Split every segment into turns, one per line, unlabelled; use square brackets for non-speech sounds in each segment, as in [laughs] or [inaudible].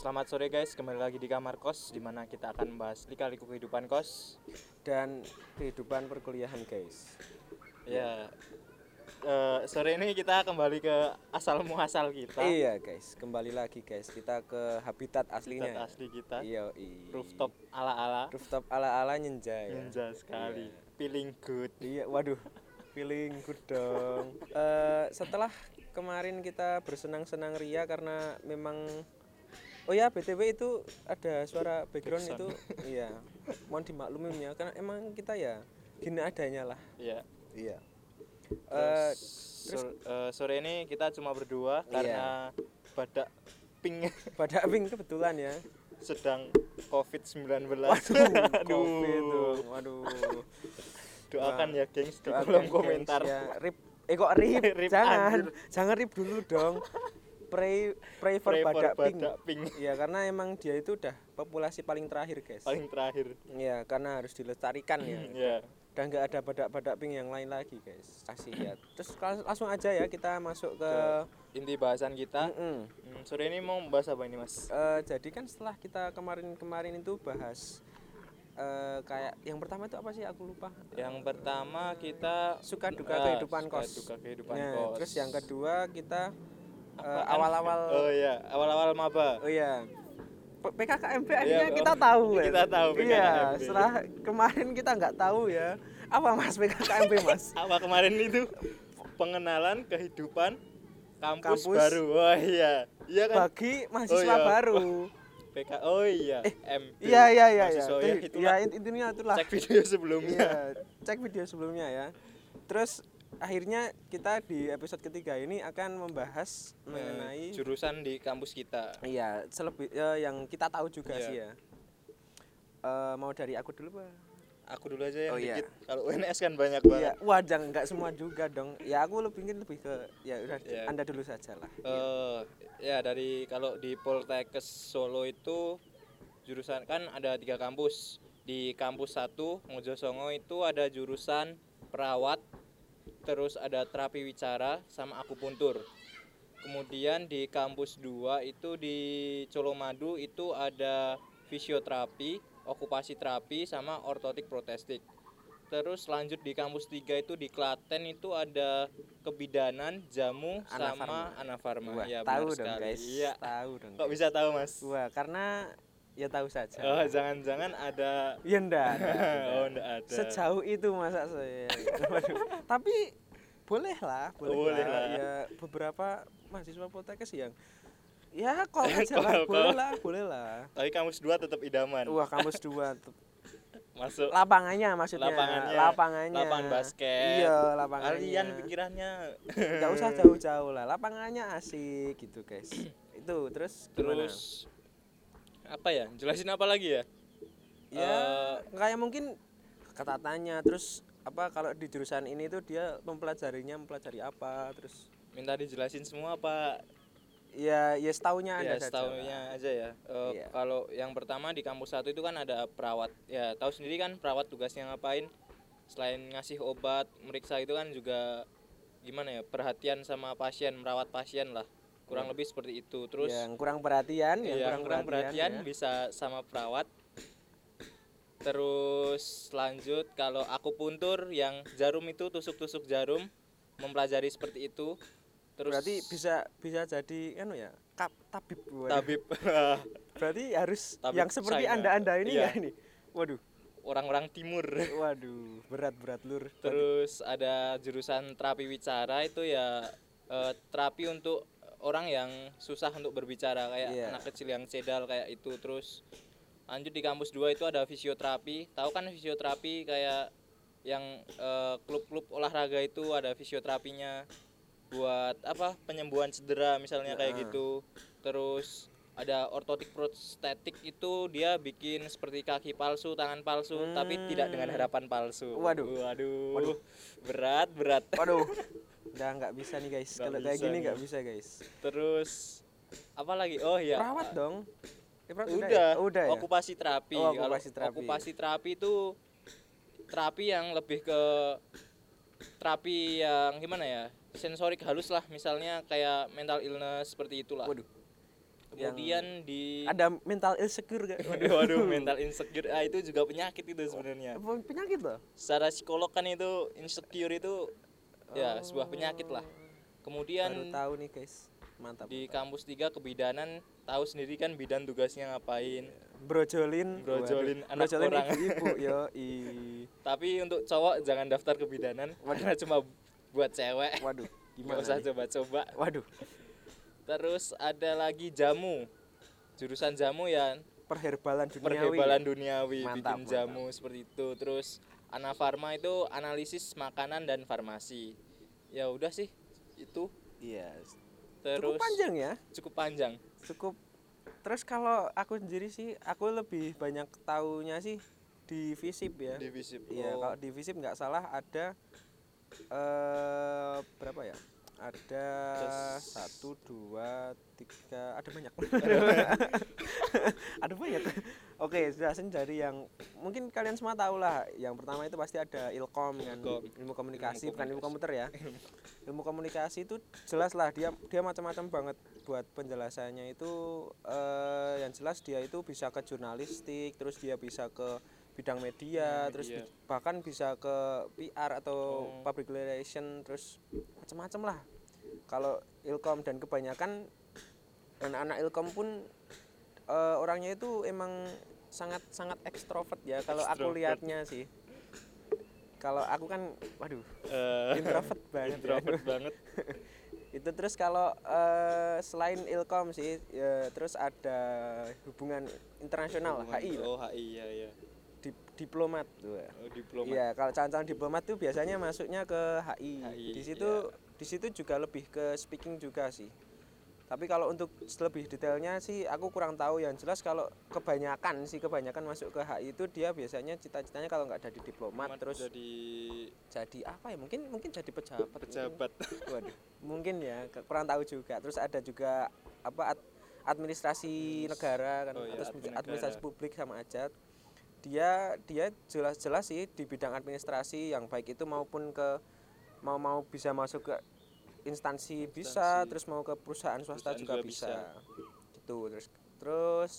Selamat sore guys, kembali lagi di kamar kos di mana kita akan membahas lika-liku kehidupan kos.
dan kehidupan perkuliahan guys
Ya. eh, sore ini kita kembali ke asal muasal kita.
iya guys kembali lagi guys kita ke habitat aslinya
Habitat asli kita.
iya i-
Rooftop ala-ala.
rooftop ala ala nyenja ya
Ninja sekali. Feeling good.
iya waduh feeling good dong Eh, setelah kemarin kita bersenang-senang ria karena memang Oh ya, BTW itu ada suara background itu. Iya. Mohon dimaklumin ya karena emang kita ya gini adanya lah.
Ya.
Iya.
Terus, sor- eh, sore ini kita cuma berdua
Iya.
karena badak pink [laughs]
Pada Abing kebetulan ya.
sedang COVID-19. [laughs]
Aduh. Covid dong. Waduh.
Doakan ya, gengs, di
Doakan,
kolom
guys,
komentar.
Ya, rip. Eh kok rip?
[laughs] Rip, anjir.
jangan. Jangan rip dulu dong. Pray pray for
Pray for
badak pink.
badak pink.
Iya, karena emang dia itu udah populasi paling terakhir, guys.
Paling terakhir.
Iya, karena harus dilestarikan ya.
Ya.
Dan nggak ada badak-badak pink yang lain lagi, guys. Kasih ya. Terus lang- langsung aja ya kita masuk ke
Inti bahasan kita
Mm-mm.
Hmm, sore ini mau bahas apa ini mas?
Eh, jadi kan setelah kita kemarin-kemarin itu bahas eh, kayak yang pertama itu apa sih aku lupa
Yang pertama kita
suka duka
Ah,
kehidupan
suka
kos.
duka kehidupan
Nah,
kos.
Terus yang kedua kita eh,
Apaan?
awal-awal
Oh iya, awal-awal maba.
oh iya P- PKKMB akhirnya
Iya,
kita tahu ya.
kita tahu
Iya,
PKKMB.
setelah kemarin kita nggak tahu ya. Apa Mas PKKMB
[laughs]
Mas?
Apa kemarin itu pengenalan kehidupan kampus,
Kampus.
baru. Oh iya. Iya kan?
Bagi mahasiswa
Oh, iya. [laughs]
baru.
PK. Oh iya, MB.
Iya iya iya iya.
Mahasiswa, ya,
Tuh,
gitulah.
Iya, int- intinya itulah.
Cek video sebelumnya.
Iya, cek video sebelumnya ya. Terus akhirnya kita di episode ketiga ini akan membahas
Eh,
mengenai
jurusan di kampus kita.
Iya, selebih eh, yang kita tahu juga
Iya.
sih ya. Eh, mau dari aku dulu, Pak.
Aku dulu aja yang
Oh, iya.
dikit. Kalau UNS kan banyak
Iya,
banget.
wah jangan nggak semua juga dong. Ya aku lebih ingin lebih ke ya udah
Iya.
Anda dulu saja lah.
eh ya dari kalau di Poltekkes Solo itu jurusan kan ada tiga kampus di kampus satu Mojosongo itu ada jurusan perawat terus ada terapi wicara sama akupuntur kemudian di kampus dua itu di Colomadu itu ada fisioterapi okupasi terapi sama ortotik protestik terus lanjut di kampus tiga itu di Klaten itu ada kebidanan jamu
Ana
sama Anafarma
Wah,
ya
tahu
benar
dong,
sekali.
guys.
Iya.
Tahu dong.
Kok bisa tahu mas?
Wah, karena ya tahu saja.
Oh, jangan-jangan ada.
Ya enggak.
[laughs] oh, enggak ada.
Sejauh itu masa saya. [laughs] Waduh. Tapi boleh lah, boleh,
Boleh
lah.
lah.
Ya beberapa mahasiswa Poltekkes yang ya
[laughs]
kalau aja
Call,
lah, boleh
call.
lah, boleh lah.
Tapi kamus dua tetap idaman.
Wah, kampus dua tuh.
Masuk
lapangannya maksudnya.
lapangannya.
ya. lapangannya.
Lapangan basket.
Iya, lapangannya.
Kalian Hmm. pikirannya.
Gak usah jauh-jauh lah, lapangannya asik gitu, guys. Itu terus gimana?
[laughs] Terus apa ya? Jelasin apa lagi ya? Eh,
ya kayak mungkin kata tanya terus apa kalau di jurusan ini tuh dia mempelajarinya mempelajari apa terus
Minta dijelasin semua apa?
ya ya setaunya
Ya,
anda saja lah.
setahunya aja ya. Eh,
Iya.
Kalau yang pertama di kampus satu itu kan ada perawat. Ya, tahu sendiri kan perawat tugasnya ngapain? Selain ngasih obat, meriksa itu kan juga gimana ya? Perhatian sama pasien, merawat pasien lah. Kurang lebih seperti itu. Terus
Ya, yang kurang perhatian Iya. yang
Iya,
kurang, perhatian, ya.
bisa sama perawat. Terus lanjut kalau aku puntur yang jarum itu tusuk-tusuk jarum mempelajari seperti itu. Terus
berarti bisa bisa jadi anu ya kap tabib waduh.
tabib [laughs]
berarti harus
Tabib
yang seperti
China.
anda anda ini
Iya.
ya ini waduh
orang-orang timur.
waduh berat berat lur
Terus ada jurusan terapi wicara itu ya eh, terapi untuk orang yang susah untuk berbicara kayak
Iya.
anak kecil yang cedal kayak itu. Terus lanjut di kampus 2 itu ada fisioterapi. Tahu kan fisioterapi kayak yang eh, klub-klub olahraga itu ada fisioterapinya buat apa penyembuhan cedera misalnya kayak gitu. Terus ada ortotik prostetik itu dia bikin seperti kaki palsu, tangan palsu tapi tidak dengan harapan palsu.
Hmm. Waduh.
Waduh. Berat, berat.
waduh udah nggak bisa nih guys kalau
bisa
kayak gini
nih. ya.
nggak bisa guys
Terus apa lagi? Oh iya.
perawat dong Eh, perawat
Udah.
ya? udah ya
Okupasi terapi.
Oh,
Kalau
okupasi terapi.
Okupasi terapi itu terapi yang lebih ke terapi yang gimana ya? Sensorik halus lah, misalnya kayak mental illness seperti itulah.
waduh
kemudian di
Ada mental insecure gak?
waduh, waduh mental insecure ah itu juga penyakit itu sebenarnya
Apa Penyakit loh.
secara psikolog kan itu insecure itu ya sebuah penyakit lah
Baru
kemudian
tahu nih guys. Mantap.
di kampus 3 kebidanan tahu sendiri kan bidan tugasnya ngapain
Iya. Brojolin.
Brojolin
Waduh.
anak
Brojolin
orang.
ibu-ibu yo. I.
tapi untuk cowok jangan daftar
[laughs]
kebidanan karena cuma buat cewek [laughs]
Waduh.
nggak
Gimana?
usah
nih?
coba-coba
Waduh.
terus ada lagi jamu jurusan jamu ya
Perherbalan duniawi.
perhebalan duniawi
Mantap,
bikin
mantap.
jamu seperti itu terus ana farma itu analisis makanan dan farmasi ya udah sih itu
Iya.
terus
Cukup panjang ya.
cukup panjang
cukup terus kalau aku sendiri sih aku lebih banyak taunya sih di visip ya
divisi
iya
[laughs]
kalau di visip nggak salah ada eh berapa ya ada
Terus-
satu dua tiga ada banyak [laughs] ada banyak oke jelasin dari yang mungkin kalian semua tahu lah yang pertama itu pasti ada ilkom kan
Ilkom.
ilmu komunikasi
Ilmu
bukan ilmu komputer [laughs] ya ilmu komunikasi itu jelas lah dia dia macam-macam banget buat penjelasannya itu eh, yang jelas dia itu bisa ke jurnalistik terus dia bisa ke bidang media
Bidang
terus
media.
bi- bahkan bisa ke PR atau
Oh.
public relation terus macam-macam lah kalau ilkom dan kebanyakan anak-anak ilkom pun eh, orangnya itu emang sangat sangat ekstrovert ya kalau aku
Ekstrovert.
lihatnya sih kalau aku kan
[laughs]
waduh introvert banget ya.
Eh,
[laughs]
introvert banget
itu terus kalau eh, selain ilkom sih ya, terus ada hubungan internasional
Hubungan-
HI lah.
oh HI ya ya
Dip- diplomat tuh
oh, diplomat
Iya, kalau calon-calon diplomat tuh biasanya masuknya ke HI.
HI,
di situ
iya.
di situ juga lebih ke speaking juga sih. Tapi kalau untuk lebih detailnya sih aku kurang tahu yang jelas kalau kebanyakan sih kebanyakan masuk ke HI itu dia biasanya cita-citanya kalau nggak jadi diplomat terus
jadi
jadi apa ya? Mungkin mungkin jadi pejabat. gitu. mungkin. [laughs]
pejabat
Waduh, mungkin ya ke- kurang tahu juga. Terus ada juga apa ad- administrasi negara kan
Oh iya,
atau
admin
administrasi,
negara.
publik sama aja. Dia dia jelas-jelas sih di bidang administrasi yang baik itu maupun ke mau mau bisa masuk ke instansi, bisa,
Instansi.
terus mau ke perusahaan swasta
Perusahaan
juga,
juga
bisa.
bisa.
Gitu. Terus terus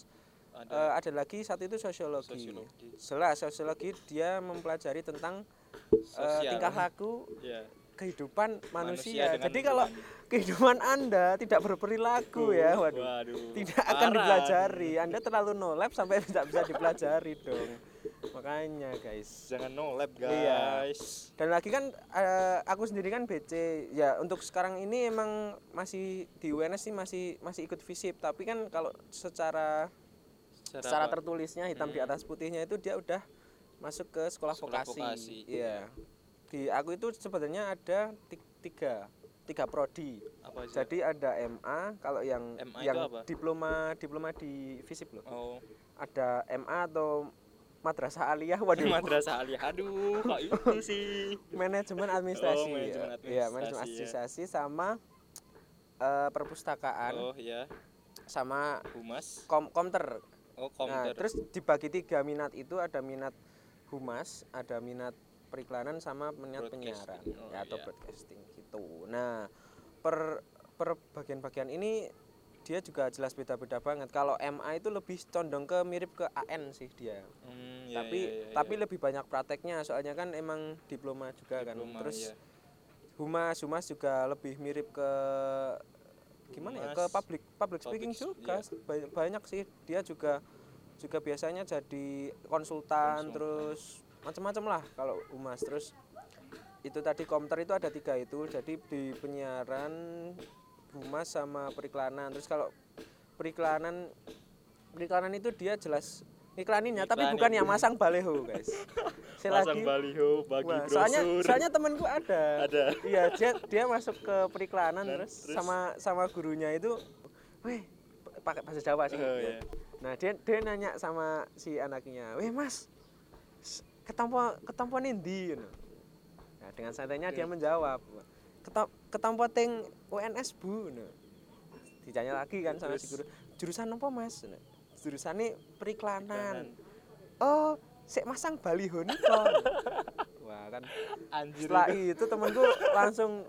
ada
eh, ada lagi satu itu sosiologi.
Sosiologi.
Jelas sosiologi dia mempelajari tentang eh,
sosial
tingkah laku
ya
kehidupan
Manusia
manusia.
dengan
Jadi kalau kehidupan Anda tidak berperilaku ya, waduh. Tidak akan
parah.
dipelajari. Anda terlalu no lab sampai tidak bisa dipelajari dong. Makanya, guys.
jangan no lab
Iya.
guys
Dan lagi kan eh, aku sendiri kan BC. Ya, untuk sekarang ini emang masih di UNS sih masih masih ikut visip, tapi kan kalau secara secara
apa? Hmm.
tertulisnya hitam di atas putihnya itu dia udah masuk ke sekolah,
Sekolah
vokasi.
vokasi.
Iya. Di aku itu sebenarnya ada ti- tiga tiga prodi.
apa aja?
Jadi ada MA kalau yang
MA itu
yang
apa?
diploma diploma di FISIP loh.
oh
Ada MA atau Madrasah Aliyah waduh.
[laughs] madrasah aliyah aduh
[laughs]
kok itu sih
manajemen
Oh,
administrasi.
manajemen
ya. Iya, manajemen
administrasi, ya.
administrasi sama eh, perpustakaan
oh ya
sama
humas
kom komter
oh
Nah,
komputer
terus dibagi tiga minat itu ada minat humas, ada minat periklanan sama minat penyiaran
Broadcasting. Oh,
ya, atau
iya.
broadcasting gitu. Nah, per per bagian-bagian ini dia juga jelas beda-beda banget. Kalau MA itu lebih condong ke mirip ke AN sih dia.
Hmm, ya,
tapi
ya, ya, ya.
tapi lebih banyak prakteknya soalnya kan emang diploma juga
Diploma,
kan. Terus
ya.
humas humas juga lebih mirip ke gimana ya ke
Humas,
public public iya. speaking
public,
juga Ba- banyak sih dia juga juga biasanya jadi konsultan,
Konsultan.
terus macam-macam lah kalau humas terus itu tadi komputer itu ada tiga itu jadi di penyiaran humas sama periklanan terus kalau periklanan periklanan itu dia jelas iklaninnya tapi
Iklanin.
bukan yang masang baleho [laughs] guys Saya
pasang
lagi-
baliho bagi
Wah,
brosur
soalnya soalnya temanku ada.
Ada.
Iya, dia dia masuk ke periklanan
Dan
terus,
terus?
sama sama gurunya itu, weh p- pakai bahasa Jawa sih.
Oh, iya.
ya. Nah, dia dia nanya sama si anaknya, "Weh, Mas, s- ketampo ketampo ndi?" Gitu. Nah, dengan santainya dia menjawab, "Ketam ketampo ting UNS, Bu." Gitu. Ditanya lagi kan sama si guru,
Terus?
"Jurusan apa, Mas?" Gitu. Jurusannya periklanan.
Periklanan.
Kan. Oh, sik masang baliho niko.
[laughs]
Wah, kan
anjir
setelah itu temenku langsung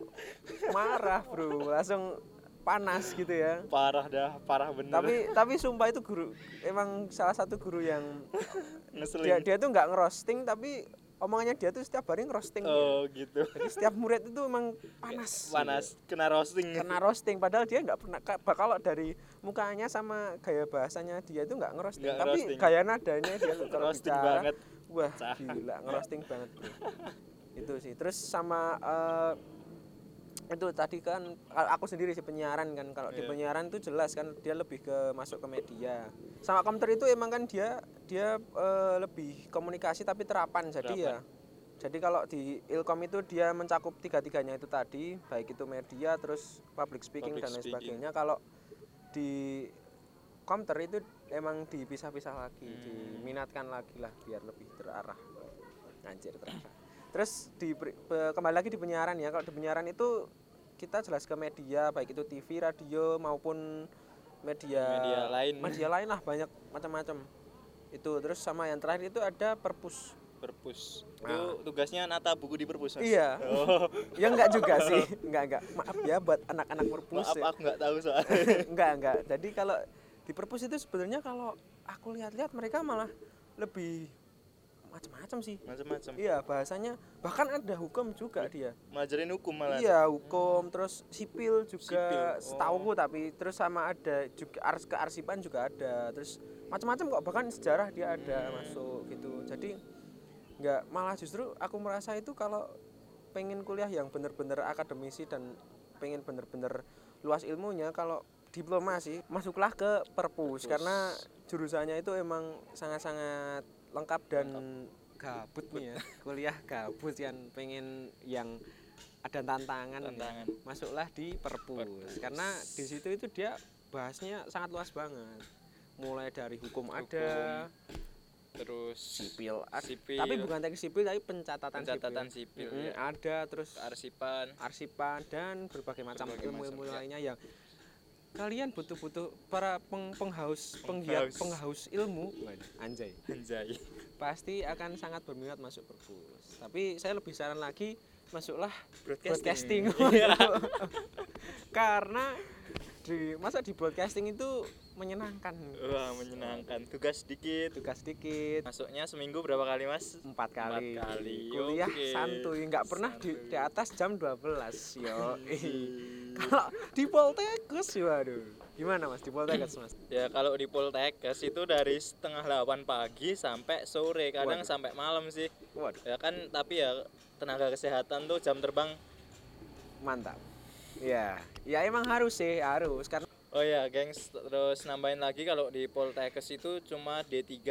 marah bro langsung panas gitu ya
parah dah parah bener
tapi tapi sumpah itu guru emang salah satu guru yang dia
ngeselin
dia tuh nggak ngerosting tapi omongannya dia Iya. tuh setiap hari ngerosting
oh
[laughs]
gitu
Jadi setiap murid itu emang panas
panas kena roasting
kena roasting padahal dia nggak pernah ka- bah- kalau dari mukanya sama gaya bahasanya dia itu nggak ngerosting
Nggak
tapi
ngerosting.
gaya nadanya dia tuh kalau
roasting
bicara,
banget
wah
Cah.
gila ngerosting banget bro. itu sih terus sama eh, itu tadi kan kalau aku sendiri sih penyiaran kan kalau di
Iya.
penyiaran tuh jelas kan dia lebih ke masuk ke media sama komputer itu emang kan dia dia eh, lebih komunikasi tapi terapan jadi ya jadi kalau di ilkom itu dia mencakup tiga tiganya itu tadi baik itu media terus public speaking
Public
dan lain
speaking.
sebagainya kalau di komter itu emang dipisah-pisah lagi
Hmm.
diminatkan lagi lah biar lebih terarah anjir terarah terus di per- pe- kembali lagi di penyiaran ya kalau di penyiaran itu kita jelas ke media baik itu TV radio maupun media
Media lain.
media lain lah banyak macam-macam itu terus sama yang terakhir itu ada perpus
perpus itu tugasnya nata buku di perpus Mas?
Ah. Iya.
oh,
ya enggak juga sih enggak enggak maaf ya buat anak-anak perpus
maaf
ya.
aku nggak tahu soalnya
[laughs] enggak enggak jadi kalau di perpus itu sebenarnya kalau aku lihat-lihat mereka malah lebih macam-macam sih
[laughs] macam-macam
iya bahasanya bahkan ada hukum juga dia
Majarin hukum malah
iya hukum terus sipil
Sipil,
juga
oh.
setahuku tapi terus sama ada juga ars kearsipan juga ada terus macam-macam kok bahkan sejarah dia
Hmm.
ada masuk gitu jadi nggak malah justru aku merasa itu kalau pengen kuliah yang bener-bener akademisi dan pengen bener-bener luas ilmunya kalau diplomasi masuklah ke perpus karena jurusannya itu emang sangat-sangat lengkap dan gabut nih ya kuliah gabut yang pengen yang ada tantangan nih.
Tantangan.
masuklah di perpus, karena di situ itu dia bahasnya sangat luas banget mulai dari hukum, ada
terus
sipil ada
Sipil.
tapi bukan teknik sipil tapi pencatatan,
pencatatan sipil,
sipil, Mm-mm,
ya.
ada terus
arsipan
arsipan dan berbagai macam
Berbagai
ilmu-ilmu
macam, ya.
lainnya yang kalian butuh-butuh para peng- penghaus penggiat
Penghaus.
penghaus ilmu anjay
anjay
pasti akan sangat berminat masuk perpus tapi saya lebih saran lagi masuklah
Broadcasting. [laughs]
broadcasting,
Iya.
karena di masa di broadcasting itu menyenangkan
wah menyenangkan tugas sedikit
tugas dikit
masuknya seminggu berapa kali mas
empat kali,
Empat kali,
kuliah
oke.
santuy nggak pernah di,
Santuy.
di atas jam 12 yo [laughs] kalau di Poltekus waduh gimana mas di Poltekus mas
ya kalau di Poltekkes itu dari setengah 8 pagi sampai sore kadang
Waduh.
sampai malam sih
waduh
ya kan tapi ya tenaga kesehatan tuh jam terbang
mantap ya ya emang harus sih harus karena
iya, oh ya gengs terus nambahin lagi kalau di Poltekkes itu cuma D3